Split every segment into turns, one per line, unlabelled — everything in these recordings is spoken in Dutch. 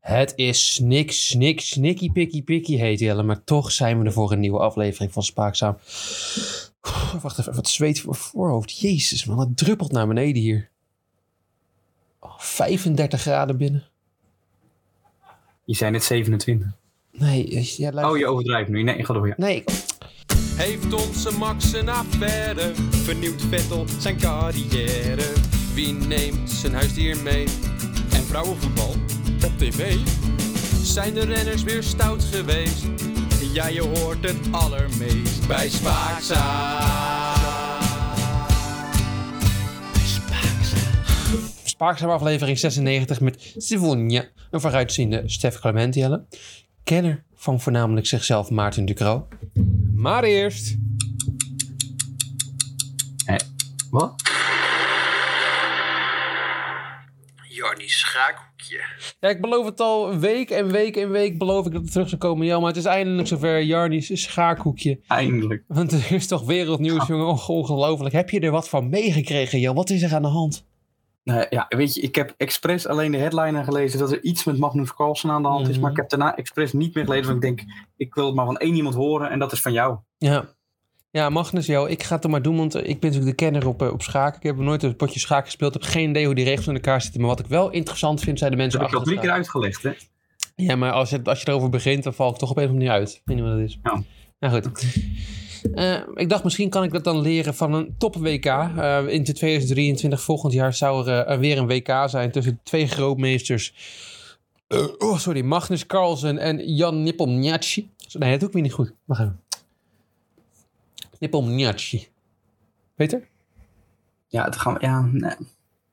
Het is snik, snik, snikkie, pikkie, pikkie heet Jelle. Maar toch zijn we er voor een nieuwe aflevering van Spaakzaam. Oeh, wacht even, wat zweet voor mijn voorhoofd. Jezus man, het druppelt naar beneden hier. Oh, 35 graden binnen.
Je zei net 27.
Nee, eh, ja, luister.
Oh, je overdrijft nu. Nee, ga door. Ja.
Nee, ik-
Heeft onze Max een affaire? Vernieuwt Vettel zijn carrière? Wie neemt zijn huisdier mee? En vrouwenvoetbal op tv? Zijn de renners weer stout geweest? Ja, je hoort het allermeest bij Spaakzaam.
Spaakzaam aflevering 96 met Sivonja. Een vooruitziende Stef Clement Jelle. Kenner van voornamelijk zichzelf Maarten Ducro. Maar eerst...
Wat?
Jarny Schaakhoekje.
Ja, ik beloof het al week en week en week beloof ik dat het terug zou komen, Jan. Maar het is eindelijk zover, Jarnies schaakhoekje.
Eindelijk.
Want er is toch wereldnieuws, jongen. Och, Ongelooflijk. Heb je er wat van meegekregen, Jan? Wat is er aan de hand?
Nou ja, weet je, ik heb expres alleen de headliner gelezen dat er iets met Magnus Carlsen aan de hand is.
Mhm.
Maar ik heb daarna expres niet meer gelezen. Want ik denk, ik wil het maar van één iemand horen en dat is van jou.
Ja. Ja, Magnus, joh, ik ga het er maar doen, want eh, ik ben natuurlijk de kenner op, eh, op schaak. Ik heb nog nooit een potje schaak gespeeld. Ik heb geen idee hoe die regels in elkaar zitten. Maar wat ik wel interessant vind, zijn de
Dat
mensen
Dus heb ik al
achter
drie
het
keer uitgelegd, hè?
schaak. Ja, maar als je, als je erover begint, dan val ik toch op een of andere manier uit. Ik weet niet wat dat is.
Ja.
Nou goed. Eh, ik dacht, misschien kan ik dat dan leren van een top-WK. Eh, in 2023, volgend jaar, zou er eh, weer een WK zijn tussen twee grootmeesters. Eh, oh, sorry, Magnus Carlsen en Jan Nepomniachtchi. Nee, dat doe ik weer niet goed. Wacht even. Nepomniachtchi. Peter?
Ja, het gaan we, ja, nee.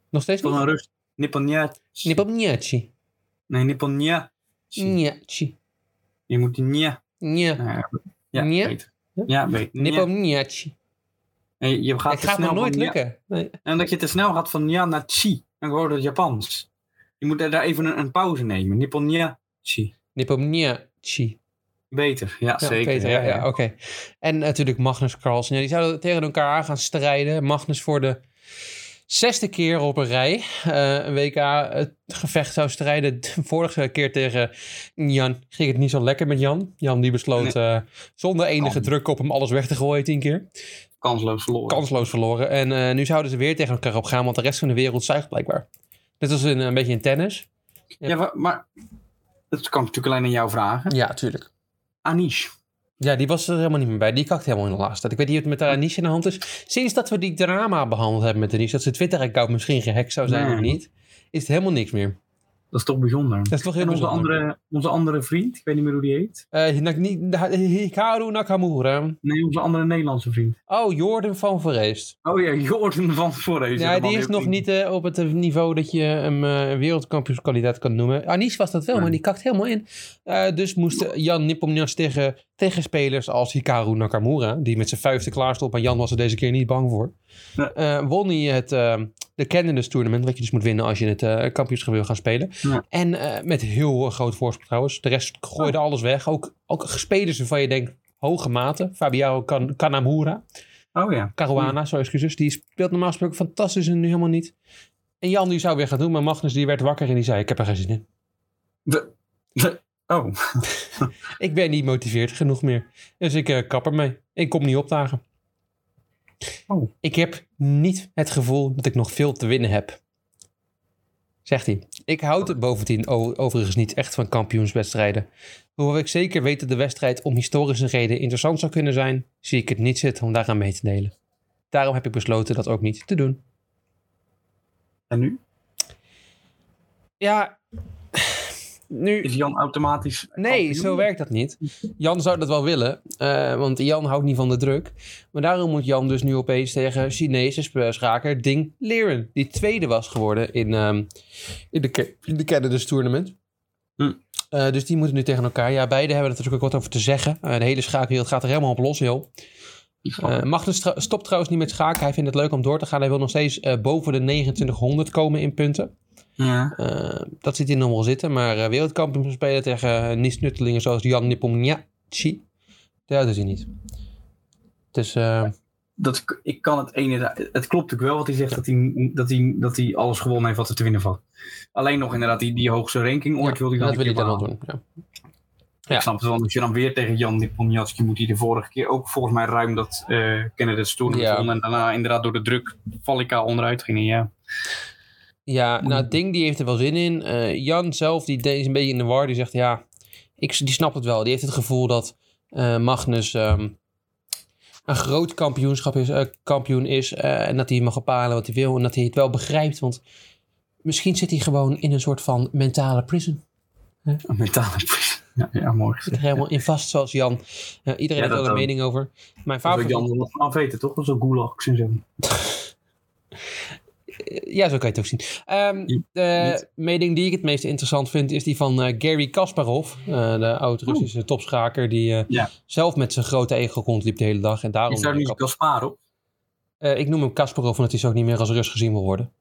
Nog steeds
Tot
niet?
een rust. Nipponja.
Nepomniachtchi.
Nee, Nipponja.
Niachtchi.
Je moet die nja.
Nia.
Ja, ja,
Nja.
weet. Ja, weet. Nja.
Nepomniachtchi.
En Je gaat
Het
te
gaat me
snel
nooit
van nja-
lukken. Nee.
En dat je te snel gaat van nja naar chi. Dan wordt het Japans. Je moet daar even een, een pauze nemen. Nipponja. Chi.
Nepomniachtchi.
Beter, ja,
eh, Ja,
zeker.
Peter, ja, ja, oké. En natuurlijk Magnus Carlsen. Ja, die zouden tegen elkaar aan gaan strijden. Magnus voor de zesde keer op een rij eh, een WK-gevecht zou strijden. De vorige keer tegen Jan ging het niet zo lekker met Jan. Jan die besloot eh, zonder enige
Kan.
druk op hem alles weg te gooien tien keer.
Kansloos verloren.
Kansloos verloren. En eh, nu zouden ze weer tegen elkaar op gaan, want de rest van de wereld zuigt blijkbaar. Net als in, eh, een beetje in tennis.
Ja, wa- maar dat kan ik natuurlijk alleen aan jou vragen.
Ja, tuurlijk.
Anish.
Ja, die was er helemaal niet meer bij. Die kakte helemaal in de laatste tijd. Ik weet niet wat het met Anisha aan de hand is. Sinds dat we die drama behandeld hebben met Anisha, dat zijn Twitter-account misschien gehackt zou zijn
Nee.
of niet, is het helemaal niks meer.
Dat is toch bijzonder.
Dat is toch heel
en onze
bijzonder.
andere, onze andere vriend, ik weet niet meer hoe die heet.
Eh, Hinak- niet- Ha- Hikaru Nakamura.
Nee, onze andere Nederlandse vriend.
Oh, Jordan van Verreest.
Oh ja, Jordan van Voorhees.
Ja, die is nog niet eh, op het eh, niveau dat je hem eh, een wereldkampioenskandidaat kan noemen. Anis was dat wel,
Nee.
maar die kakt helemaal in. Eh, dus moest Jan Nipomnias tegen, tegen spelers als Hikaru Nakamura, die met zijn vuisten klaar stond, maar Jan was er deze keer niet bang voor.
Nee.
Eh, won hij het eh, de Candidus Tournament, wat je dus moet winnen als je het eh kampioenschap wil gaan spelen.
Ja.
En eh, met heel eh, groot voorsprong trouwens. De rest gooide alles weg. Ook, ook spelers waarvan je denkt, hoge mate. Fabiano kan Kanamura.
Oh ja.
Caruana, sorry, excuses. Die speelt normaal gesproken fantastisch en nu helemaal niet. En Jan die zou weer gaan doen, maar Magnus die werd wakker en die zei... ik heb er geen zin in.
De, de- oh,
Ik ben niet motiveerd genoeg meer. Dus ik eh, kap ermee. Ik kom niet opdagen.
Oh.
Ik heb niet het gevoel dat ik nog veel te winnen heb. Zegt hij. Ik houd het bovendien o- overigens niet echt van kampioenswedstrijden. Hoewel ik zeker weet dat de wedstrijd om historische reden interessant zou kunnen zijn, zie ik het niet zitten om daaraan mee te delen. Daarom heb ik besloten dat ook niet te doen.
en nu?
Ja, nu.
Is Jan automatisch
Nee, zo werkt dat niet. Jan zou dat wel willen, eh, want Jan houdt niet van de druk. Maar daarom moet Jan dus nu opeens tegen Chinese sp- schaker Ding Leren, die tweede was geworden in, ehm, in, de, Ca- in de Canada's Tournament.
Hm.
Eh, dus die moeten nu tegen elkaar. Ja, beide hebben er natuurlijk ook wat over te zeggen. Eh, de hele schaakwereld gaat er helemaal op los, joh.
Oh.
Eh, Magnus tra- stopt trouwens niet met schaken. Hij vindt het leuk om door te gaan. Hij wil nog steeds eh, boven de 2900 komen in punten.
ja.
Eh, dat zit hij nog wel zitten. Maar eh, wereldkampioen spelen tegen eh, niets-nuttelingen zoals Jan Nepomniachtchi. Ja, Dat doet hij niet. Dus eh,
dat, ik kan het ene... Het klopt natuurlijk wel wat hij zegt, dat hij, dat, hij, dat hij alles gewonnen heeft wat er te winnen valt. Alleen nog inderdaad die, die hoogste ranking ooit wil hij dan
dat wil
een
ik
keer
dan al
behalen.
doen. Ja.
Ik snap het wel, als je dan weer tegen Jan Nepomniachtchi moet, die de vorige keer ook volgens mij ruim dat eh Candidates Tournament
Ja.
won. En daarna inderdaad door de druk Valika onderuit ging. Ja.
Ja, nou, Ding die heeft er wel zin in. Eh, Jan zelf, die de- is een beetje in de war. Die zegt, ja, ik, die snapt het wel. Die heeft het gevoel dat eh, Magnus ehm, een groot kampioenschap is, eh, kampioen is. eh, en dat hij mag bepalen wat hij wil. En dat hij het wel begrijpt. Want misschien zit hij gewoon in een soort van mentale prison.
Een mentale pres- ja, ja, mooi
Zit er
gezegd.
helemaal in vast, zoals Jan. Eh, iedereen
Ja,
heeft
dat
wel een
ook.
mening over. Mijn
Dat wil
favoriet...
Jan nog aan weten, toch? Dat is ook gulags en zo.
Ja, zo kan je het ook zien. Ehm,
Ja,
de
niet.
mening die ik het meest interessant vind is die van eh, Gary Kasparov. eh, de oud-Russische topschaker die eh,
Ja.
zelf met zijn grote ego rondliep de hele dag. En daarom
Is daar
eh,
niet
kap-
Gasparov?
Eh, ik noem hem Kasparov omdat hij zo ook niet meer als Rus gezien wil worden.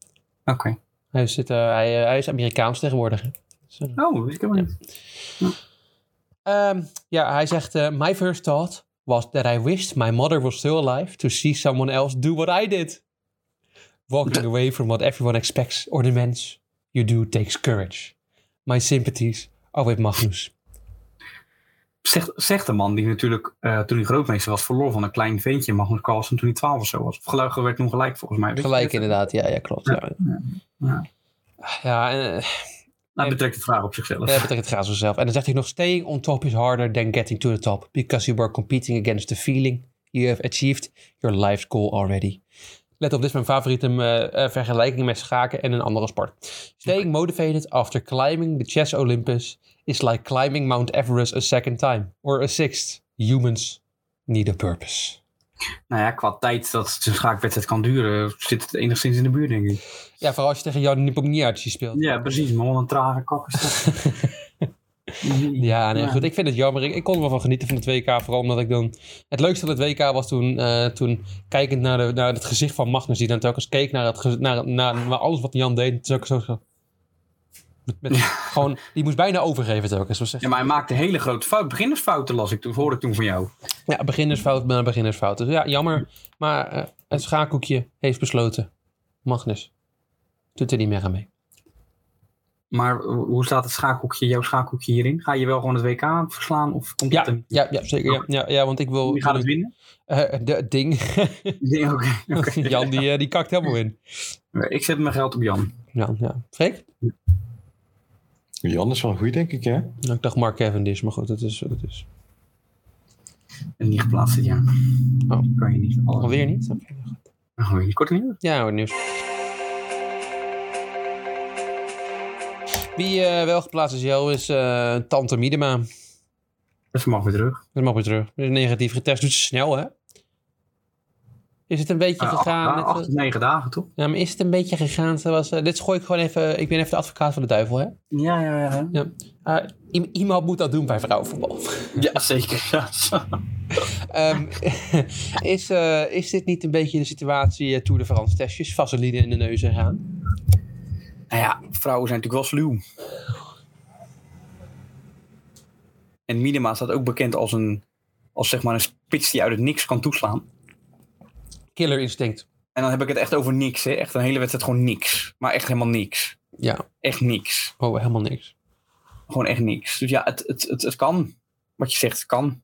Oké.
Hij, zit, eh, hij, eh, hij is Amerikaans tegenwoordig. hè. Dus, eh,
Oh, dat weet ik helemaal niet.
Ehm, ja, hij zegt: eh, My first thought was that I wished my mother was still alive to see someone else do what I did. Walking away from what everyone expects or demands you do takes courage. My sympathies are with Magnus.
Zegt, zegt de man die natuurlijk eh, toen hij grootmeester was verloor van een klein ventje, Magnus Carlsen, toen hij 12 of zo was. Of gelijk werd toen gelijk volgens mij. Weet je,
Gelijk
dit-
inderdaad, ja, ja klopt. Ja,
Ja.
ja en eh,
Nou, betrekt de vraag op zichzelf.
dat betreft het gaat zo zelf. En dan zegt hij nog: Staying on top is harder than getting to the top because you were competing against the feeling you have achieved your life's goal already. Let op, dit is mijn favoriete eh, eh, vergelijking met schaken en een andere sport. Staying motivated after climbing the chess Olympus is like climbing Mount Everest a second time. Or a sixth. Humans need a purpose.
Nou ja, qua tijd dat zo'n schaakwedstrijd kan duren, zit het enigszins in de buurt, denk ik.
Ja, vooral als je tegen Jan Nepomniachtchi speelt.
Ja, precies. Maar wel een trage kakker.
Ja, nee, goed. Ik vind het jammer. Ik, ik kon er wel van genieten van het WK. Vooral omdat ik dan... Het leukste van het WK was toen, eh, toen kijkend naar, de, naar het gezicht van Magnus. Die dan telkens keek naar, het, gez- naar, naar, naar alles wat Jan deed. Zo, zo, zo. Met, met- gewoon, die moest bijna overgeven telkens. Dat Was echt,
Ja, maar hij maakte hele grote fouten. Beginnersfouten las ik toen, hoorde ik toen van jou.
ja, beginnersfout na beginnersfout. Dus ja, jammer. Maar eh, het schaakhoekje heeft besloten. Magnus doet er niet meer aan mee.
Maar hoe staat het schaakhoekje, jouw schaakhoekje hierin? Ga je wel gewoon het WK verslaan of komt
Ja, Oh,
het hem?
ja, ja zeker. Ja, ja, ja, want ik wil...
Wie gaat het winnen?
Eh, de- het ding.
Nee, Oké, oké.
Jan, die, eh, die kakt helemaal in.
Ik zet mijn geld op Jan.
Ja, ja. Freek?
Jan is wel goed, denk ik, hè?
Nou, ik dacht Mark Cavendish, maar goed, het is wat het is.
En niet geplaatst dit jaar.
Oh.
Kan je niet. Alle...
Alweer niet?
Oh, je kort nieuws.
Ja, hoor, nieuws. Wie eh, wel geplaatst is, Jo, is eh, Tante Miedema.
Dat mag weer terug.
Dat mag weer terug. Is negatief getest. Doet ze snel, hè? Is het een beetje
Eh, acht-
gegaan... met,
acht,
eh,
tot negen dagen, toch?
ja, maar is het een beetje gegaan zoals... eh, dit gooi ik gewoon even... Ik ben even de advocaat van de duivel, hè?
Ja, ja, ja.
Eh, i- iemand moet dat doen bij vrouwenvoetbal.
Ja, zeker. Ja. Nou
Ehm, is, eh, is dit niet een beetje de situatie eh, Tour de France testjes? Vaseline in de neus en gaan?
Nou ja, vrouwen zijn natuurlijk wel sluw. En Minima staat ook bekend als een, als zeg maar een spits die uit het niks kan toeslaan.
Killer instinct.
En dan heb ik het echt over niks, hè. Echt een hele wedstrijd gewoon niks. Maar echt helemaal niks.
Ja,
Echt niks.
oh, helemaal niks.
Gewoon echt niks. Dus ja, het, het, het, het kan. Wat je zegt, het kan.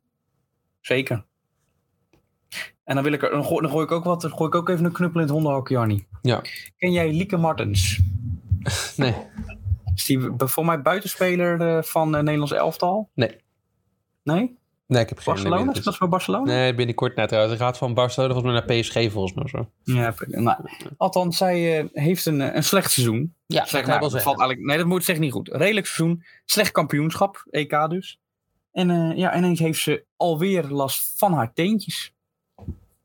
Zeker. En dan, wil ik er, dan, gooi, dan gooi ik ook wat. Dan gooi ik ook even een knuppel in het hondenhok, Jarnie.
Ja.
Ken jij Lieke Martens?
Nee.
Is die b- voor mij buitenspeler eh, van eh, Nederlands elftal?
Nee.
Nee?
Nee, ik heb geen
Barcelona?
idee.
Is dat voor Barcelona?
Nee, binnenkort naar trouwens. Hij gaat van Barcelona volgens mij naar PSG volgens mij. of Zo.
Ja, pre- nou, althans, zij eh, heeft een, eh, een slecht seizoen.
Ja, dat
Slecht,
kan je wel
nou, dat
zeggen.
valt eigenlijk, nee, dat moet zeg niet goed. Redelijk seizoen, slecht kampioenschap, EK dus. En eh ja, ineens heeft ze alweer last van haar teentjes.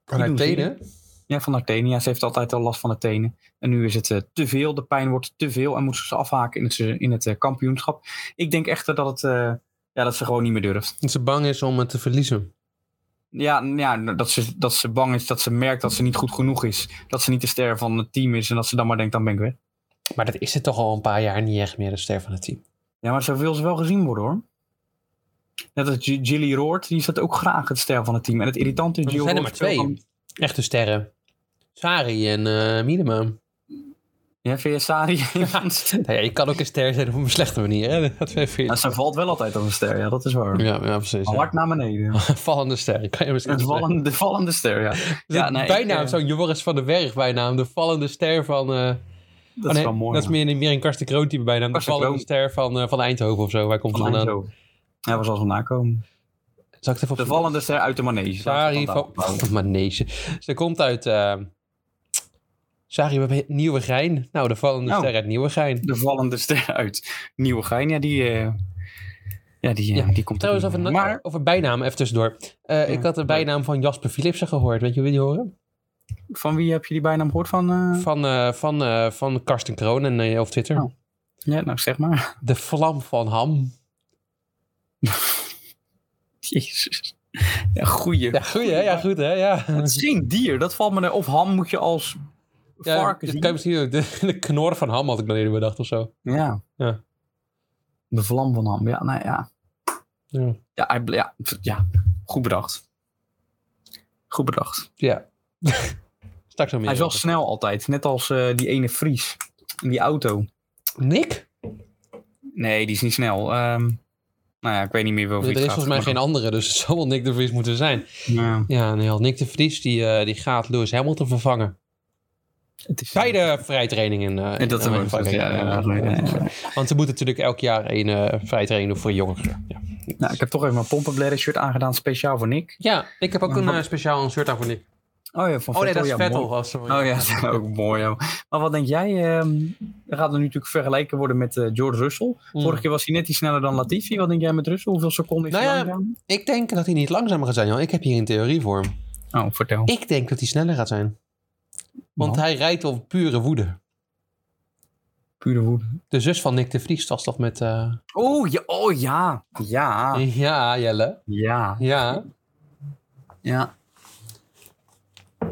Kan hij
doen ze
tenen?
Ja, van haar tenen. Ja, ze heeft altijd al last van haar tenen. En nu is het eh, te veel, de pijn wordt te veel en moet ze ze afhaken in het, se- in het eh, kampioenschap. Ik denk echter dat, het, eh, ja, dat ze gewoon niet meer durft.
Dat ze bang is om het te verliezen.
Ja, ja dat, ze, dat ze bang is, dat ze merkt dat ze niet goed genoeg is. Dat ze niet de ster van het team is en dat ze dan maar denkt, dan ben ik weg.
Maar dat is het toch al een paar jaar niet echt meer de ster van het team.
Ja, maar zo wil ze wel gezien worden hoor. Net als G- Gilly Roord, die is dat ook graag het ster van het team. En het irritante is,
Maar er
Gilly
zijn er
Roord
maar
speelt
twee.
dan-
Echte sterren. Sari en eh Minima.
Ja, vind je Sari?
Nou ja, je kan ook een ster zijn op een slechte manier. Hè? Dat vind ik.
Ja, ze valt wel altijd als een ster, ja, dat is waar.
Ja, ja, precies.
Maar
ja.
Hard naar beneden. ja.
Vallende ster. Kan je misschien
De vallende, de vallende ster, ja. ja nee, ik,
bijnaam,
eh,
zo'n Joris van den Berg bijnaam. De vallende ster van... eh,
Dat
oh nee,
is wel mooi.
Dat is
ja.
meer, een- meer een Karsten Kroon type bijnaam. De
Karsten
vallende
Kroon.
ster van, eh, van Eindhoven of zo. Waar komt ze
Van
vandaan?
Eindhoven. Hij was als een nakomen.
Zal ik het even op
De vallende ster uit de manege.
Sari
Laten we
van...
het dan
van Manege. Ze komt uit... eh Sari bij Nieuwegein. Nou, de vallende
Oh.
ster uit Nieuwegein.
De vallende ster uit Nieuwegein. Ja, die, eh, ja, die, eh,
Ja,
die komt er
Trouwens,
niet
over,
meer.
maar...
Maar
over bijnaam, even tussendoor. Eh, ik had de bijnaam van Jasper Philipsen gehoord. Weet je wie die horen?
van wie heb je die bijnaam gehoord? Van, eh,
Van, eh, van, eh, van Karsten Kroon en, eh, op Twitter.
Oh. Ja, nou zeg maar.
De vlam van Ham.
Jezus. Ja, goeie.
Ja, goed hè? Ja, goed hè? Ja.
Het is geen dier. Dat valt me er. Of ham moet je als
Ja,
varken
dat
zien.
kan je misschien ook. De, de knor van Ham had ik dan eerder bedacht of zo.
Ja.
Ja.
De vlam van ham. Ja, nou ja.
Ja.
Ja, hij ble- ja, pff, ja. goed bedacht. Goed bedacht.
ja. Straks nog meer.
Hij is wel
over.
snel altijd. Net als eh, die ene Fries. In die auto.
Nick?
Nee, die is niet snel. Ehm, nou ja, ik weet niet meer
Er
over
is
wie het
volgens mij geen andere, dus het zal wel Nick de Vries moeten zijn.
geen... Ja,
Ja, nee, Nick de Vries die, eh, die gaat Lewis Hamilton vervangen.
het is...
Bij de vrijtraining in, eh,
En dat
in
is
Amerika.
wel ja, ja, ja, ja, ja.
Want ze moeten natuurlijk elk jaar een eh vrijtraining doen voor jongeren. Ja.
Nou, ik heb toch even mijn pompenbladder shirt aangedaan, speciaal voor Nick.
ja, ik heb ook een eh, speciaal shirt aan voor Nick.
Oh ja, van
Oh nee,
Vettel,
dat is
ja,
Vettel.
mooi.
Oh, sorry.
Oh ja, dat is ook mooi. joh. Maar wat denk jij? ehm er gaat er nu natuurlijk vergeleken worden met eh, George Russell.
Hmm.
Vorige keer was hij net iets sneller dan Latifi. Wat denk jij met Russell? Hoeveel seconden is
Nou
hij
ja.
langzaam?
Ik denk dat hij niet langzamer gaat zijn, Jan. Ik heb hier een theorie voor hem.
Oh, vertel.
Ik denk dat hij sneller gaat zijn. Want
Want
hij rijdt op pure woede.
pure woede.
De zus van Nick de Vries was dat met... eh,
Oh ja, oh ja. Ja,
Ja, Jelle.
ja,
Ja.
ja.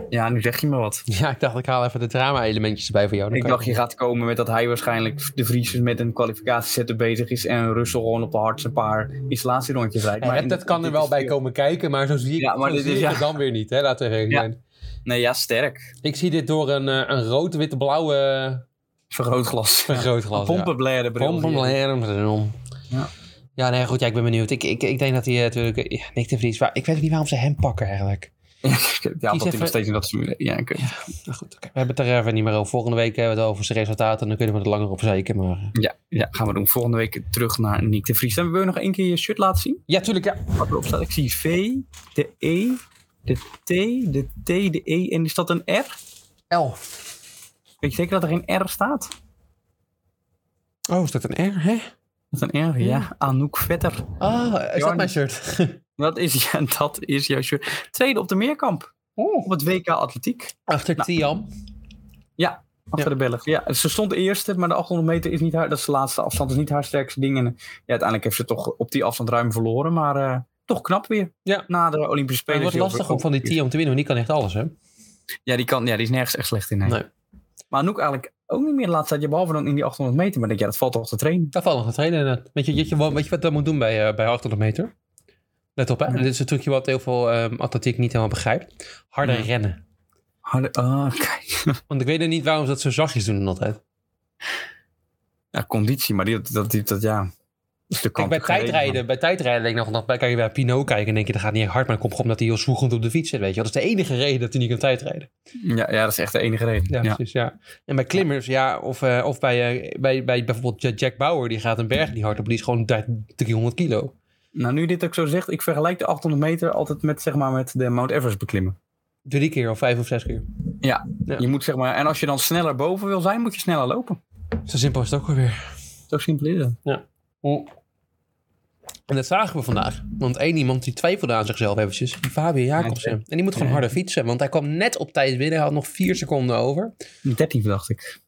Ja, nu zeg je me wat.
Ja, ik dacht ik haal even de drama-elementjes erbij voor jou. Dan
Ik
kan
dacht, je gaat komen met dat hij waarschijnlijk de Vries met een kwalificatiezetten bezig is. En Russell gewoon op de hardste een paar installatierondjes rijdt.
Ja, dat, dat kan er wel bij komen kijken, maar zo zie ik,
Ja, maar
zo
dit
zie
is-
ik
ja.
het dan weer niet. Hè? Laten we eerlijk
Ja.
zijn.
Nee, ja, sterk.
Ik zie dit door een, eh, een rood-witte-blauwe
Vergrootglas.
vergrootglas. ja.
Pompenbladen bril.
Pom, pom,
hier.
lem, lem.
Ja.
Ja, nee, goed. Ja, ik ben benieuwd. Ik, ik, ik denk dat hij eh, natuurlijk... eh, Ja, Nick de Vries... waar- ik weet ook niet waarom ze hem pakken eigenlijk.
Ja, omdat hij
even-
nog steeds in dat Formule Ja, ik weet-
Nou goed, oké. we hebben het er even niet meer over. Volgende week hebben we het over zijn resultaten. En dan kunnen we er langer op zeiken. Maar... eh.
ja, ja, gaan we doen. Volgende week terug naar Nick de Vries. En wil je nog één keer je shirt laten zien?
Ja, tuurlijk. Ja.
Wat erop staat. Ik zie V, de E, de T, de T, de E. En is dat een R?
Elf.
Weet je zeker dat er geen R staat?
Oh, is dat een R, hè?
Dat is een R, ja. Hmm. Anouk Vetter.
Ah, is dat
Jorn.
mijn shirt?
Dat is, ja, dat is jouw shirt. Tweede op de Meerkamp. Op het WK Atletiek.
Achter Tiam.
Achter de Belg. Ja, ze stond eerste, maar de 800 meter is niet haar, dat is de laatste afstand, is niet haar sterkste ding. En ja, uiteindelijk heeft ze toch op die afstand ruim verloren, maar eh, toch knap weer.
Ja.
Na de Olympische
Maar
Spelen.
het wordt lastig om van die Tiam te winnen, want die kan echt alles, hè?
Ja, die kan, ja, die is nergens echt slecht in. Nee.
Nee.
Maar Anouk eigenlijk ook niet meer de laatste tijd, ja, behalve dan in die 800 meter. Maar ik denk, ja, dat valt toch te trainen.
Dat valt nog te trainen inderdaad. Weet je, weet je, wat- weet je wat dat moet doen bij, eh bij 800 meter? Let op, hè? Dit is een trucje wat heel veel ehm, atletiek niet helemaal begrijpt. Harder
Nee.
rennen.
Harde, ah, kijk.
Want ik weet er niet waarom ze dat zo zachtjes doen altijd.
Ja, conditie, maar die, dat, die, dat, ja. Dus de
Kijk,
kant
bij
ook gereden,
tijdrijden, bij tijdrijden denk ik nog, nog bij, kan je bij Pinot kijken en denk je, dat gaat niet echt hard, maar dat komt gewoon omdat hij heel zwoegend op de fiets zit, weet je. wel. Dat is de enige reden dat hij niet kan tijdrijden.
man. Ja, ja, dat is echt de enige reden.
Ja,
Ja, ja.
precies, ja. En bij klimmers, ja, of, eh, of bij, eh, bij, bij bijvoorbeeld Ja- Jack Bauer, die gaat een berg niet hard op, die is gewoon daar 300 kilo.
Nou, nu je dit ook zo zegt, ik vergelijk de 800 meter altijd met, zeg maar, met de Mount Everest beklimmen.
Drie keer of vijf of zes keer. Ja.
Je moet zeg maar, en als je dan sneller boven wil zijn, moet je sneller lopen.
Zo simpel is het ook alweer.
Zo simpel is het.
En dat zagen we vandaag. Want één iemand die twijfelde aan zichzelf eventjes. Fabio Jacobsen. En die moet gewoon
Ja.
harder fietsen. Want hij kwam net op tijd binnen. Hij had nog vier seconden over.
13 dacht ik.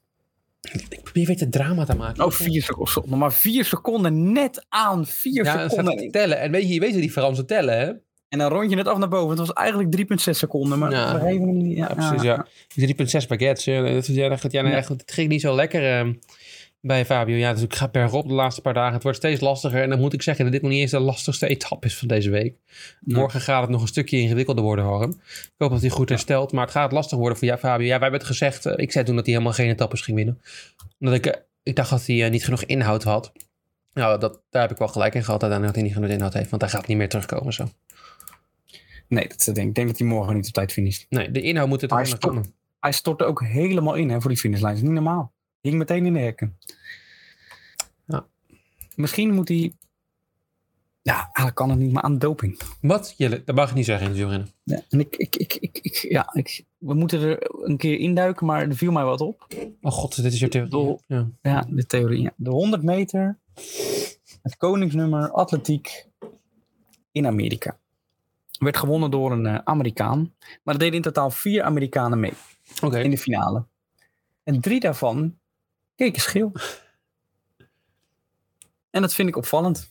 Ik probeer weer te drama te maken.
Oh, 4 seconden. Nog maar 4 seconden net aan. 4
Ja, en staat
seconden.
te tellen. En weet je, je weet die Fransen tellen, hè?
En dan rond je net af naar boven. Het was eigenlijk 3,6 seconden. Maar
Ja.
op een gegeven moment- ja,
Ja, precies, ja. 3,6 baguettes. Ja, dat, ja, dat, ja, nou,
Ja.
echt, het ging niet zo lekker. ehm. bij Fabio. Ja, dus ik ga per op de laatste paar dagen. Het wordt steeds lastiger. En dan moet ik zeggen dat dit nog niet eens de lastigste etappe is van deze week.
Nee.
Morgen gaat het nog een stukje ingewikkelder worden, Harm. Ik hoop dat hij goed herstelt. Maar het gaat lastig worden voor jou, Fabio. Ja, wij hebben het gezegd. eh, ik zei toen dat hij helemaal geen etappes ging winnen. Omdat ik, eh, ik dacht dat hij eh, niet genoeg inhoud had. Nou, dat, daar heb ik wel gelijk in gehad. Uiteindelijk dat hij niet genoeg inhoud heeft. Want hij gaat niet meer terugkomen zo.
Nee, dat is het ding. Ik denk dat hij morgen niet op tijd finisht.
Nee, de inhoud moet er toch
Maar
nog
stop.
komen.
Hij stortte ook helemaal in hè, voor die finishlijn. Dat is niet normaal. Hing meteen in de hekken.
Ja.
Misschien moet hij... Ja, eigenlijk kan het niet, maar aan doping.
Wat? Jelle, dat mag je niet zeggen in het wielrennen.
Ja, en ik, ik, ik, ik, ik- ja, ik, we moeten er een keer induiken, maar er viel mij wat op.
Oh god, dit is je theorie.
Dol.
Ja.
Ja, de theorie. ja. De 100 meter, het koningsnummer, atletiek in Amerika. Werd gewonnen door een eh, Amerikaan. Maar er deden in totaal vier Amerikanen mee
Oké.
in de finale. En drie daarvan keken schil. En dat vind ik opvallend.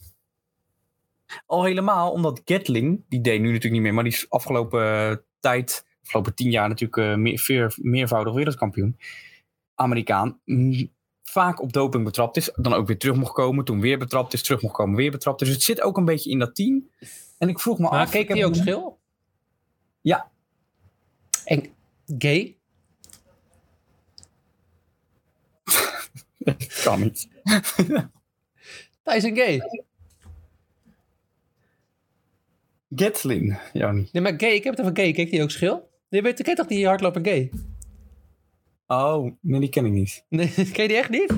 Al helemaal omdat Gatling, die deed nu natuurlijk niet meer, maar die is afgelopen eh, tijd, afgelopen tien jaar natuurlijk eh, meer, veer- meervoudig wereldkampioen, Amerikaan, m, vaak op doping betrapt is, dan ook weer terug mocht komen, toen weer betrapt is, terug mocht komen, weer betrapt is. Dus het zit ook een beetje in dat team. En ik vroeg me
Maar
af,
keek hij
heb-
ook schil?
Ja.
En gay?
Kan niet.
Hij is een gay.
Gatling, ja niet.
Nee, maar gay, ik heb het over gay. Keek hij ook schil? Nee, weet, ik ken toch die hardloper gay?
Oh, nee, die ken ik niet.
Nee, ken je die echt niet?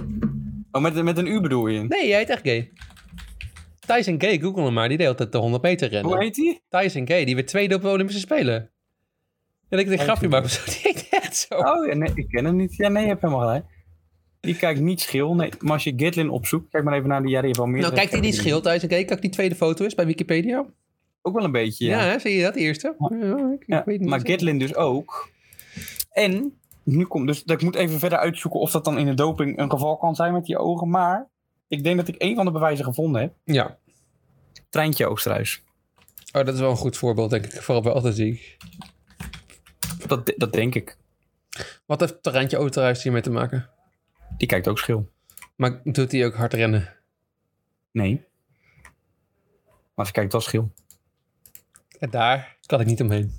Oh, met, met een U bedoel je?
Nee, jij heet echt gay. Tyson Gay, google hem maar. Die deed altijd de 100 meter rennen.
Hoe heet die?
Tyson Gay, die werd tweede op de Olympische Spelen. En ik denk,
Oh,
grapje
ik-
maar. Die heet echt zo.
Oh, ja, nee, ik ken hem niet. Ja, nee, je hebt helemaal gelijk. Die kijkt niet schil. Nee, maar als je Gitlin opzoekt, kijk maar even naar de jaren van meer.
nou, kijkt hij die schil, Tyson Gay? Kijk, die tweede foto is bij Wikipedia.
Ook wel een beetje,
Ja,
ja.
hè, zie je dat? De eerste. Ja, ik- ik
Ja,
weet niet
maar
zo.
Gitlin dus ook. En, nu komt dus, dat ik moet even verder uitzoeken of dat dan in de doping een geval kan zijn met die ogen. Maar ik denk dat ik één van de bewijzen gevonden heb.
Ja.
Treintje Oosterhuis.
Oh, dat is wel een goed voorbeeld, denk ik. Vooral bij atletiek.
Dat, de- dat denk ik.
Wat heeft Tarantje Oosterhuis hiermee te maken?
Die kijkt ook schil.
Maar doet hij ook hard rennen?
Nee. Maar ze kijkt wel schil.
En daar kan ik niet omheen.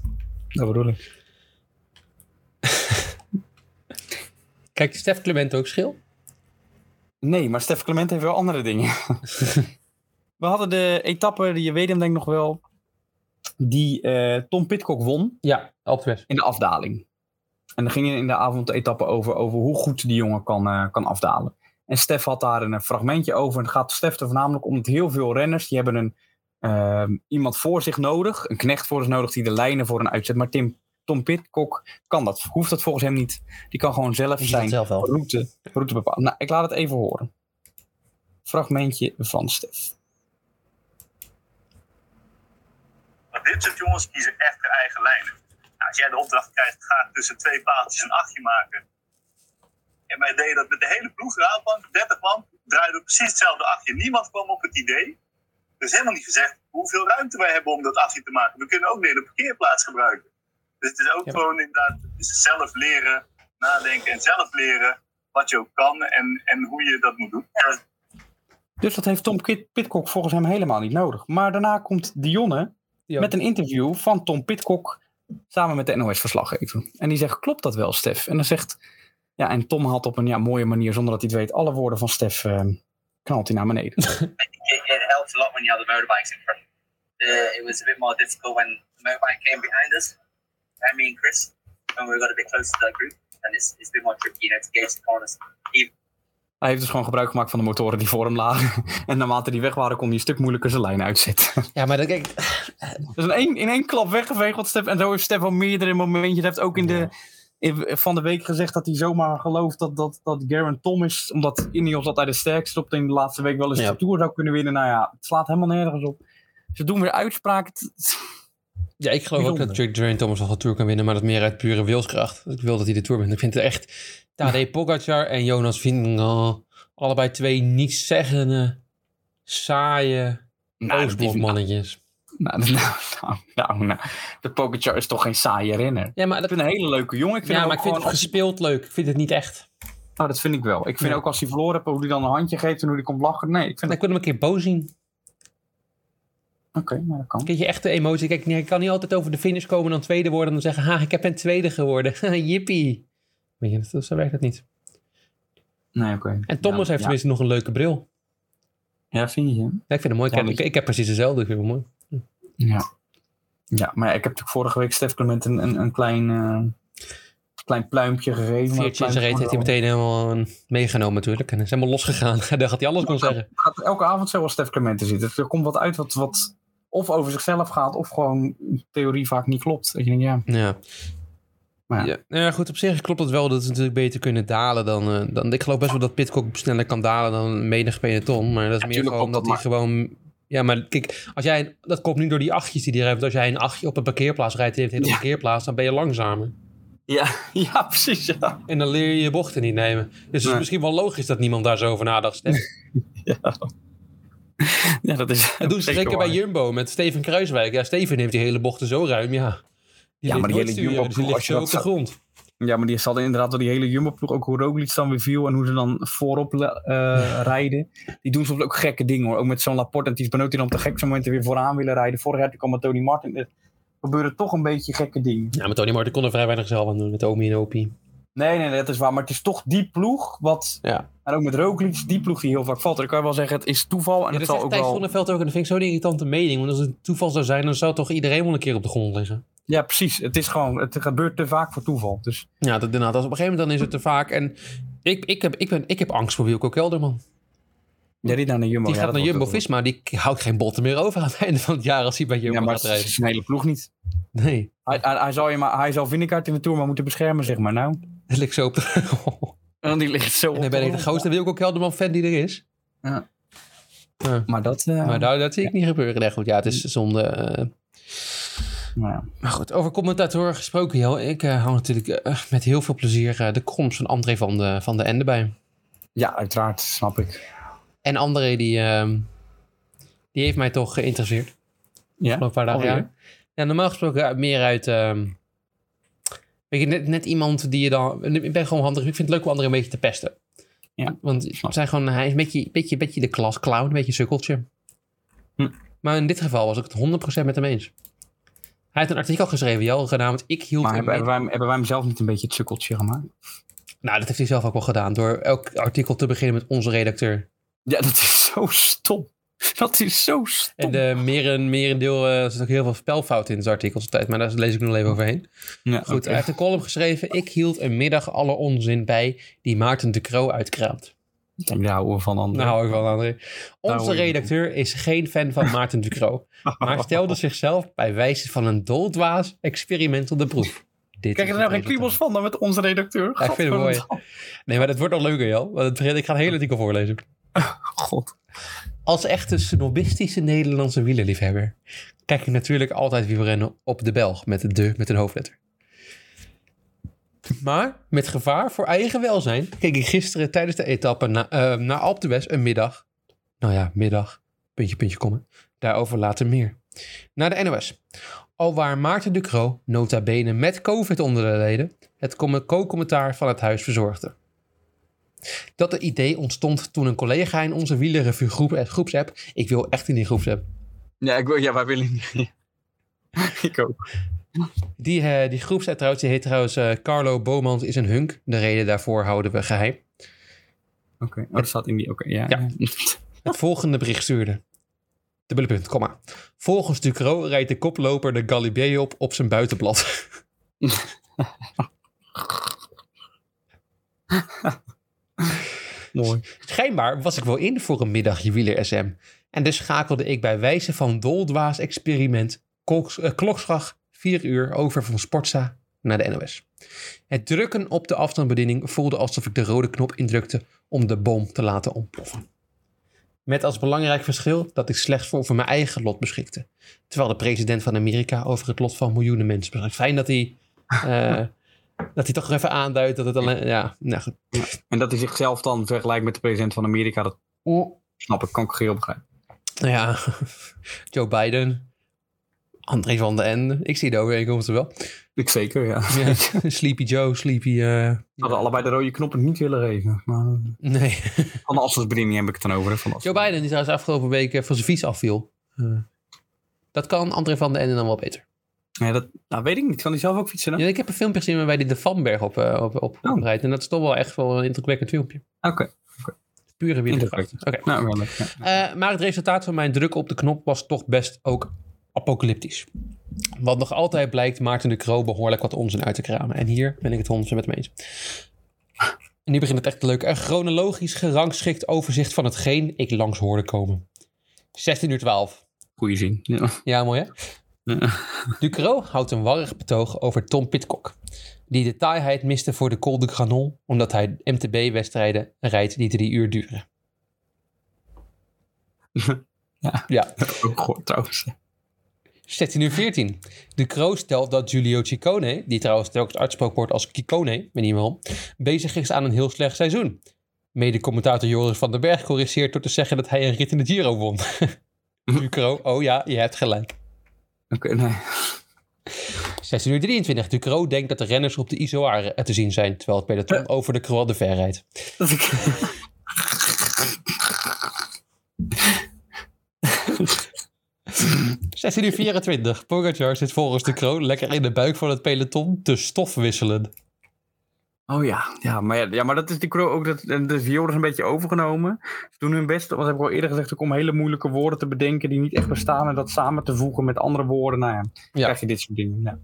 Dat bedoel ik.
Kijk, Stef Clement ook schil?
Nee, maar Stef Clement heeft wel andere dingen. We hadden de etappe, die je weet hem denk ik nog wel, die eh, Tom Pitcock won
Ja, Alpes.
in de afdaling. En dan ging je in de avond de etappe over, over hoe goed die jongen kan, eh, kan afdalen. En Stef had daar een eh, fragmentje over. En het gaat Stef er voornamelijk om dat heel veel renners, die hebben een, ehm, iemand voor zich nodig. Een knecht voor zich nodig die de lijnen voor hen uitzet. Maar Tim, Tom Pitcock kan dat. Hoeft dat volgens hem niet. Die kan gewoon zelf zijn
zelf wel.
route, route bepalen. Nou, ik laat het even horen. Fragmentje van Stef.
Maar dit soort jongens kiezen echt hun eigen lijnen. Nou, als jij de opdracht krijgt, ga tussen twee paaltjes een achtje maken. En wij deden dat met de hele ploeg, Raadbank, 30 man, draaiden we precies hetzelfde achtje. Niemand kwam op het idee. Dus helemaal niet gezegd hoeveel ruimte wij hebben om dat achtje te maken. We kunnen ook weer de parkeerplaats gebruiken. Dus het is ook
Ja.
gewoon inderdaad dus zelf leren, nadenken en zelf leren wat je ook kan en, en hoe je dat moet doen. En
Dus dat heeft Tom Kit- Pitcock volgens hem helemaal niet nodig. Maar daarna komt Dionne met een interview van Tom Pitcock samen met de NOS-verslaggever. En die zegt, klopt dat wel, Stef? En dan zegt, ja, en Tom haalt op een ja, mooie manier, zonder dat hij het weet, alle woorden van Stef eh, knalt hij naar beneden.
it, it helped a lot when you had the motorbikes in front. Uh, it was a bit more difficult when the motorbike came behind us, and me and Chris, when we got a bit closer to that group, and it's, it's a bit more tricky, you know, to gauge the corners.
Hij heeft dus gewoon gebruik gemaakt van de motoren die voor hem lagen. En naarmate die weg waren, kon hij een stuk moeilijker zijn lijn uitzetten.
Ja, maar dat, kijk,
Dus in één, in één klap weggeveegeld, Stef. En zo heeft Stef al meerdere momentjes. Hij heeft ook in de, in- van de week gezegd dat hij zomaar gelooft dat, dat, dat Garen Tom is. Omdat Ineos altijd de sterkste op in de laatste week wel eens
Ja.
de Tour zou kunnen winnen. Nou ja, het slaat helemaal nergens op. Ze doen weer uitspraken. Het-
ja, ik geloof ook dat
Bijzonder.
Jack Drain Thomas nog de Tour kan winnen, maar dat meer uit pure wilskracht. Ik wil dat hij de Tour wint. Ik vind het echt Tadej Pogacar en Jonas Vingegaard allebei twee nietszeggende, saaie
Nou, dat is- nou,
Oostblokmannetjes.
nou, nou, nou, nou. de Pokerchar is toch geen saaie renner.
Ja, maar, dat,
Ik vind een hele leuke jongen. Ik vind
ja,
hem
maar ik
ook
vind het
gewoon-
gespeeld leuk. Ik vind het niet echt.
Nou, dat vind ik wel. Ik vind
Ja.
ook als hij verloren hebt, hoe hij dan een handje geeft en hoe hij komt lachen. Nee, ik vind
Ik
dat...
wil hem een keer boos zien.
Oké, nou, dat kan.
Kijk, je echte emotie. Kijk, hij kan niet altijd over de finish komen en dan tweede worden. En dan zeggen, ha, ik heb ben tweede geworden. Jippie. Weet je, dat- zo werkt dat niet.
Nee, oké.
En Thomas
Ja,
heeft
ja.
tenminste nog een leuke bril.
Ja, vind je?
Ja, ik vind hem mooi. Ik, heb-
Thomas.
ik, ik heb precies dezelfde. Ik vind hem mooi.
Ja. Ja, maar ja, ik heb natuurlijk vorige week Stef Clement een, een, een klein, eh, klein pluimpje gegeven. maar
Viertje in
dat
zijn reet
pluimpje
heeft hij meteen helemaal eh, meegenomen natuurlijk. En is helemaal losgegaan. Hij dacht dat hij alles kon zeggen.
gaat elke avond zo als Stef Clement er zit. Dus Er komt wat uit wat, wat of over zichzelf gaat, of gewoon theorie vaak niet klopt. Dat je denkt, ja,
Ja.
Maar
ja. Nou ja, goed, op zich klopt het wel dat ze natuurlijk beter kunnen dalen dan, eh, dan... Ik geloof best wel dat Pitcock sneller kan dalen dan menig peloton. Maar dat is meer
tuurlijk
gewoon omdat
klopt
hij
dat,
gewoon... Ja, maar kijk, als jij, een- dat komt nu door die achtjes die hij heeft. Als jij een achtje op een parkeerplaats rijdt, in een
Ja.
parkeerplaats, dan ben je langzamer.
ja, ja precies. Ja.
En dan leer je je bochten niet nemen. Dus het is
Nee.
misschien wel logisch dat niemand daar zo over nadacht. Stef.
ja, dat is.
Dat doen ze zeker bij Jumbo met Steven Kruiswijk. Ja, Steven neemt die hele bochten zo ruim, ja. Die
maar die hele Jumbo-ploeg,
dus die ligt
als je
zo
dat
op de
zou-
grond.
Ja, maar die hadden inderdaad door die hele jumbo-ploeg, ook hoe Roglic dan weer viel en hoe ze dan voorop le- eh, rijden. Die doen soms ook gekke dingen hoor. Ook met zo'n Laporte en Ties Benoot die dan op de gekste momenten weer vooraan willen rijden. Vorig jaar toen kwam met Tony Martin. Er gebeuren toch een beetje gekke dingen.
Ja, maar Tony Martin kon er vrij weinig zelf aan doen met Omi en Opie.
Nee, nee, nee, dat is waar. Maar het is toch die ploeg wat...
Ja.
En ook met Roglic, die ploeg die heel vaak valt. En ik kan je wel zeggen, het is toeval. En
Ja,
het
dat
zal
zegt
ook
Thijs
wel...
Zonneveld ook en dat vind ik zo'n irritante mening. Want als het toeval zou zijn, dan zou toch iedereen wel een keer op de grond liggen.
Ja, precies. Het is gewoon... Het gebeurt te vaak voor toeval. Dus
Ja, dat, inderdaad. Als op een gegeven moment dan is het te vaak. En ik, ik, heb, ik, ben, ik heb angst voor Wilco Kelderman.
ja, die naar de Jumbo.
Die
ja,
gaat naar
dat wordt
Jumbo
ook wel-
Visma. Die houdt geen botten meer over aan het einde van het jaar als hij bij Jumbo
Ja, maar
gaat
het
rijden.
is zijn hele ploeg niet.
Nee.
Hij, hij, hij zal je maar, hij zal Vinnegaard in de Tour maar moeten beschermen, zeg maar. Nou...
Dat ligt zo op de
En dan die ligt zo
En dan ben ik de grootste Wilco Kelderman-fan die er is.
Ja.
Ja.
Maar dat... eh,
Maar daar, dat zie ik niet gebeuren. Nee, goed, ja, het is zonde. eh.
nou ja.
maar goed, over commentatoren gesproken, joh. Ik eh, hou natuurlijk eh, met heel veel plezier eh, de komst van André van de, van de Ende bij.
ja, uiteraard. Snap ik.
En André, die, ehm, die heeft mij toch geïnteresseerd.
Ja?
Afgelopen paar dagen.
Alweer?
Ja. Ja, normaal gesproken uit- meer uit... ehm, weet je, net, net iemand die je dan... Ik ben gewoon handig. Ik vind het leuk om anderen een beetje te pesten.
Ja,
Want
snap
het zijn gewoon, hij is een beetje, beetje, beetje de klas clown. Een beetje een sukkeltje.
Hm.
Maar in dit geval was ik het 100% met hem eens. Hij heeft een artikel geschreven, Jel, genaamd Ik hield
Maar
hem
hebben, hebben, wij, hem- hebben wij hem zelf niet een beetje het sukkeltje gemaakt?
Nou, dat heeft hij zelf ook wel gedaan. Door elk artikel te beginnen met onze redacteur.
Ja, dat is zo stom. Dat is zo stom.
En de meer, merendeel eh, er zit ook heel veel spelfouten in het artikel tijd. Maar daar lees ik nog even overheen.
Ja,
Goed,
oké.
hij heeft een column geschreven. Ik hield een middag alle onzin bij die Maarten de Croo uitkraamt.
Kijk, daar houden we van anderen.
Nou, hou ik wel, André.
hoor
Onze
je van.
redacteur is geen fan van Maarten de Croo, maar stelde zichzelf bij wijze van een doldwaas experiment op de proef. Dit
Krijg je
is
er nou
het
geen kriebels
resultaat.
van dan met onze redacteur?
Ja, ik vind het mooi.
Godverdomme.
Nee, maar dat wordt nog leuker, joh. Want het begint- ik ga het hele artikel voorlezen.
God.
Als echte snobistische Nederlandse wielerliefhebber kijk ik natuurlijk altijd wielrennen op de Belg met de met een hoofdletter. Maar met gevaar voor eigen welzijn keek ik gisteren tijdens de etappe na, eh, naar Alpe d'Huez een middag. Nou ja, middag. Puntje, puntje, komma. Daarover later meer. Naar de NOS. Alwaar Maarten de Croo, nota bene met COVID onder de leden, het com- co-commentaar van het huis verzorgde. Dat het idee ontstond toen een collega in onze wielerreviewgroep, eh, groepsapp, ik wil echt in die groepsapp,
Ja, ik wil, ja wij willen niet. ik ook.
die, eh, die groepsapp trouwens, die heet trouwens eh, Carlo Bomans is een hunk. De reden daarvoor houden we geheim.
Oké, oh, dat staat in die... Oké, ja.
Ja. Het volgende bericht stuurde. Dubbele punt, komma. Volgens Ducro rijdt de koploper de Galibier op op zijn buitenblad.
Mooi.
Schijnbaar was ik wel in voor een middagje wieler SM. En dus schakelde ik bij wijze van doldwaas experiment koks- eh, klokslag 4 uur over van Sportza naar de NOS. Het drukken op de afstandsbediening voelde alsof ik de rode knop indrukte om de bom te laten ontploffen. Met als belangrijk verschil dat ik slechts voor, voor mijn eigen lot beschikte. Terwijl de president van Amerika over het lot van miljoenen mensen beschikt. Fijn dat hij, eh, dat hij toch even aanduidt dat het alleen... Ja, nou goed.
En dat hij zichzelf dan vergelijkt met de president van Amerika, dat snap ik, kan ik heel begrijpen.
Nou ja, Joe Biden. André van der Ende. Ik zie de overeenkomsten wel.
Ik zeker, ja.
Ja, Sleepy Joe, Sleepy... eh,
We hadden allebei de rode knoppen niet willen geven. Maar eh,
nee.
van de afstandsbediening heb ik het dan over. hè, Van de
Joe
afstands-
Biden die trouwens afgelopen week eh, van zijn fiets afviel. Eh, dat kan André van der Ende dan wel beter.
Nee, dat nou, weet ik niet. Kan hij zelf ook fietsen? hè?
Ja, ik heb een filmpje gezien waarbij hij de Vanberg op, eh, op, op,
Oh.
oprijdt. En dat is toch wel echt wel een indrukwekkend filmpje.
Oké.
Pure wielerkracht.
Indrukwekkend.
Oké.
Nou, wel leuk. Ja.
Eh, maar het resultaat van mijn druk op de knop was toch best ook apocalyptisch. Want nog altijd blijkt Maarten de Croo behoorlijk wat onzin uit te kramen. En hier ben ik het 100% met hem eens. En nu begint het echt leuk. Een chronologisch gerangschikt overzicht van hetgeen ik langs hoorde komen. 16 uur 12.
Goeie zin. Ja.
Ja, mooi hè?
Ja.
Ducro houdt een warrig betoog over Tom Pitcock. Die de taaiheid miste voor de Col de Granon, omdat hij MTB-wedstrijden rijdt die drie uur duren.
Ja.
ja.
Dat heb ik ook gehoord trouwens.
16 uur 14. Ducro stelt dat Giulio Ciccone, die trouwens telkens uitgesproken wordt als Ciccone, weet niet waarom, bezig is aan een heel slecht seizoen. Mede-commentator Joris van den Berg corrigeert door te zeggen dat hij een rit in de Giro won. Ducro, oh ja, je hebt gelijk.
Oké, nee.
16 uur 23. Ducro denkt dat de renners op de Isoire te zien zijn, terwijl het peloton over de Croix de Ver rijdt.
Dat ik...
Zes uur 24. Pogacar zit volgens Ducro lekker in de buik van het peloton te stof wisselen.
Oh ja. Ja, maar, ja, ja, maar dat is die crew ook. Dat, dat is Joris een beetje overgenomen. Ze doen hun best, wat heb ik al eerder gezegd, ook om hele moeilijke woorden te bedenken die niet echt bestaan. En dat samen te voegen met andere woorden. Nou ja, krijg je dit soort dingen. Ja.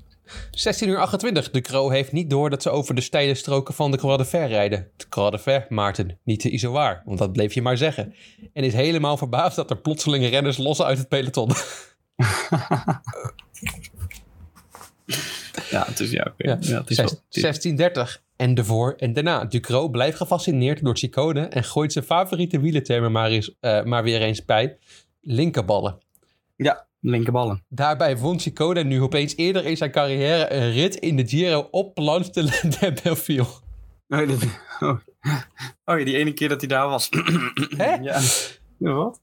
16 uur 28. Ducro heeft niet door dat ze over de steile stroken van de Croix de Fer rijden. De Croix de Fer, Maarten, niet de Isoire, want dat bleef je maar zeggen. En is helemaal verbaasd dat er plotseling renners lossen uit het peloton.
Ja, het is ja, oké.
Ja.
Ja, het is wel-
1630 en daarvoor en daarna. Ducro blijft gefascineerd door Ciccone en gooit zijn favoriete wielerterm er maar, eens, eh, maar weer eens bij. Linkerballen.
ja, linkerballen.
Daarbij won Ciccone nu opeens eerder in zijn carrière een rit in de Giro op Planche de la de Belleville.
Oh, dat- oh. oh ja, die ene keer dat hij daar was.
Hè?
Ja. Ja, wat?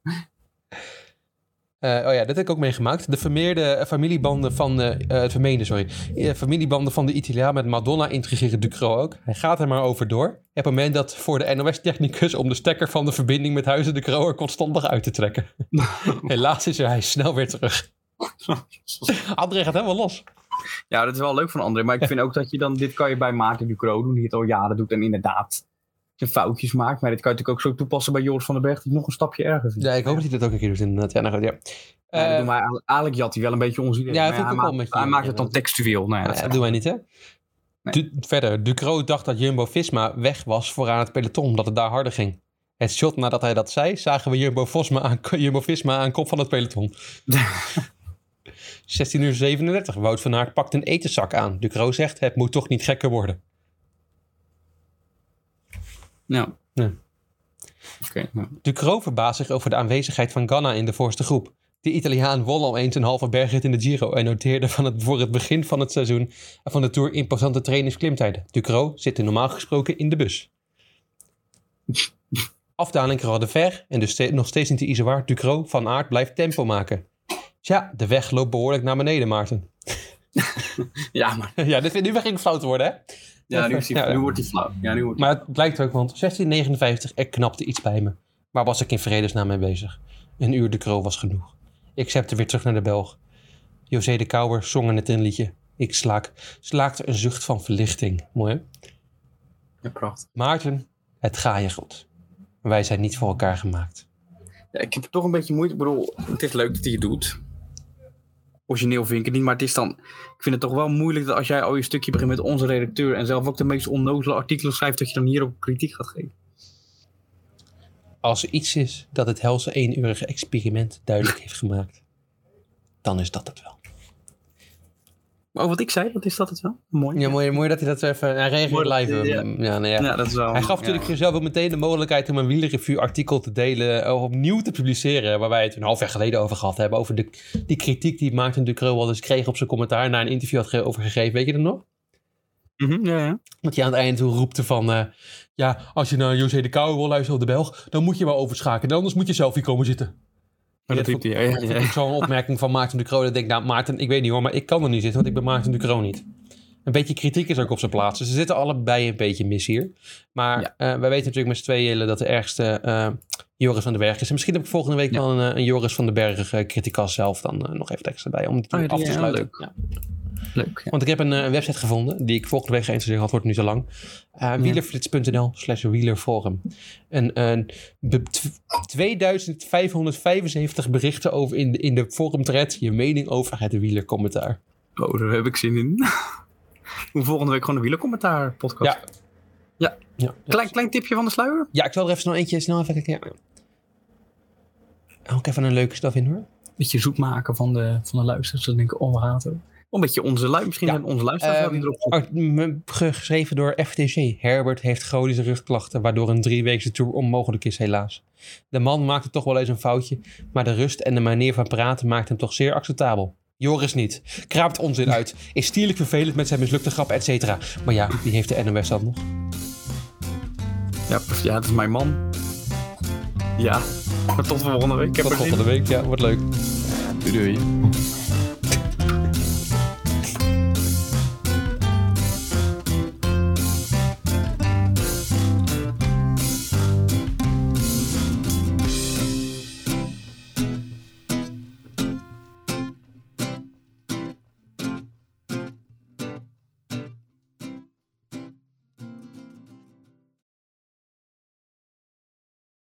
Eh, oh ja, dat heb ik ook meegemaakt. De vermeerde eh, familiebanden van de, eh, het vermeende, sorry. Eh, familiebanden van de Italiaan met Madonna intrigeren Ducro ook. Hij gaat er maar over door. Op het moment dat voor de NOS-technicus om de stekker van de verbinding met Huizen de Croo er kortstondig uit te trekken. Helaas is er hij snel weer terug. André gaat helemaal los.
Ja, dat is wel leuk van André. Maar ik vind ook dat je dan... Dit kan je bij Maarten Ducro doen, die het al jaren doet. En inderdaad zijn foutjes maakt. Maar dit kan je natuurlijk ook zo toepassen bij Joris van den Berg. Die het nog een stapje erger vindt.
Ja, ik hoop dat hij dat ook een keer doet inderdaad. Ja, nou goed, ja.
Ja, dat
Eh,
doen wij eigenlijk- eigenlijk jat hij wel een beetje ons idee.
Ja,
Maar
vind ik
hij,
ook wel
maakt,
een beetje-
hij maakt het dan textueel. Nou ja, dat
Nou,
is-
dat doen wij niet, hè?
Nee.
Du- verder, Ducro dacht dat Jumbo-Visma weg was vooraan het peloton, omdat het daar harder ging. Het shot nadat hij dat zei, zagen we Jumbo-Visma aan, Jumbo-Visma aan kop van het peloton. 16 uur 37, Wout van Aert pakt een etenzak aan. Ducro zegt, het moet toch niet gekker worden.
ja.
Ja.
Oké, ja.
Ducro verbaast zich over de aanwezigheid van Ganna in de voorste groep. De Italiaan won al eens een halve bergrit in de Giro en noteerde van het, voor het begin van het seizoen en van de Tour imposante trainingsklimtijden. Ducro zit normaal gesproken in de bus. Afdaling Croix de Ver en dus ste- nog steeds niet de Izoar. Ducro van Aert blijft tempo maken. Tja, de weg loopt behoorlijk naar beneden, Maarten.
ja, maar
ja, dit, nu begint het fout te worden, hè?
ja, nu, is hij-
Ja.
nu wordt hij flauw. Ja, nu wordt hij-
Maar het blijkt ook, want 1659, er knapte iets bij me. Waar was ik in vredesnaam mee bezig? Een uur de kroo was genoeg. Ik zepte weer terug naar de Belg. José de Kouwer zong het een liedje. Ik slaak, slaakte een zucht van verlichting. Mooi hè?
ja, prachtig.
Maarten, het ga je goed. Wij zijn niet voor elkaar gemaakt.
Ja, ik heb toch een beetje moeite. Ik bedoel, het is leuk dat hij het doet. Origineel vind ik het niet, maar het is dan... Ik vind het toch wel moeilijk dat als jij al je stukje begint met onze redacteur... en zelf ook de meest onnozele artikelen schrijft... dat je dan hierop kritiek gaat geven.
Als er iets is dat het helse eenurige experiment duidelijk heeft gemaakt, dan is dat het wel.
Oh, wat ik zei, dat is dat het wel? Mooi.
Ja, mooi, mooi dat hij dat zo even... Hij reageert
Mooi dat-
live.
ja.
eh, Ja, nou ja.
Ja, dat is wel...
Hij gaf
ja.
natuurlijk zelf ook meteen de mogelijkheid om een wielerreview-artikel te delen, eh, opnieuw te publiceren, waar wij het een half jaar geleden over gehad hebben, over de, die kritiek die Maarten Ducro al eens kreeg op zijn commentaar na een interview had ge- over gegeven, weet je dat nog?
Mhm, ja, ja.
Dat hij aan het eind toe roepte van, eh, ja, als je naar José de Kouwer wil luisteren op de Belg, dan moet je maar overschakelen, anders moet je zelf hier komen zitten. dat
dat riep hij. Ja,
Dat ik zo'n opmerking van Maarten de Croo. Dat ik denk, nou Maarten, ik weet niet hoor, maar ik kan er niet zitten, want ik ben Maarten de Croo niet. Een beetje kritiek is ook op zijn plaats. Dus ze zitten allebei een beetje mis hier. Maar
Ja.
eh, wij weten natuurlijk met z'n tweeën dat de ergste eh, Joris van den Berg is. En misschien heb ik volgende week
Ja.
wel een, eh, een Joris van den Berg eh criticas zelf dan eh, nog even extra bij. Om het
Oh ja, die-
af te
ja,
sluiten.
leuk.
Ja.
Leuk. Ja.
Want ik heb een eh, website gevonden die ik volgende week ga introduceren, want het wordt nu te lang. Eh, wielerflits.nl slash wielerforum. En een be- tw- 2575 berichten over in de, in de forum thread je mening over het wielercommentaar.
Oh, daar heb ik zin in. Hoe volgende week gewoon een wielercommentaar podcast.
Ja. Ja, ja.
Klein, klein tipje van de sluier.
ja, ik zal er even snel eentje snel even kijken. Ja. Ook even een leuke staf in hoor.
Een beetje zoek maken van de, van de luisteraars. Dan denken, oh, we gaat het? Een beetje onze luisteraars. Misschien
Ja.
zijn onze luisteraars wel die
Ehm,
erop zitten.
art- m- ge- geschreven door FTC. Herbert heeft chronische rugklachten, waardoor een drieweekse tour onmogelijk is, helaas. De man maakte toch wel eens een foutje, maar de rust en de manier van praten maakt hem toch zeer acceptabel. Joris niet. Kraapt onzin uit. Is stierlijk vervelend met zijn mislukte grap, et cetera. Maar ja, die heeft de NOS dan nog.
Ja, pff, ja, dat is mijn man. Ja, maar tot volgende week. Ik heb
Tot
er zin in.
volgende week. Ja, wordt leuk.
Doei doei.